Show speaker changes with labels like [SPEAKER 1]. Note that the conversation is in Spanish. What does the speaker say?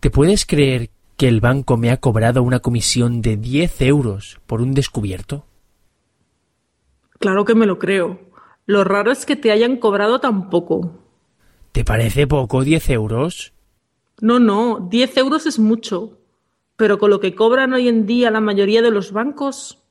[SPEAKER 1] ¿Te puedes creer que el banco me ha cobrado una comisión de 10 euros por un descubierto?
[SPEAKER 2] Claro que me lo creo. Lo raro es que te hayan cobrado tan poco.
[SPEAKER 1] ¿Te parece poco 10 euros?
[SPEAKER 2] No, no, 10 euros es mucho. Pero con lo que cobran hoy en día la mayoría de los bancos.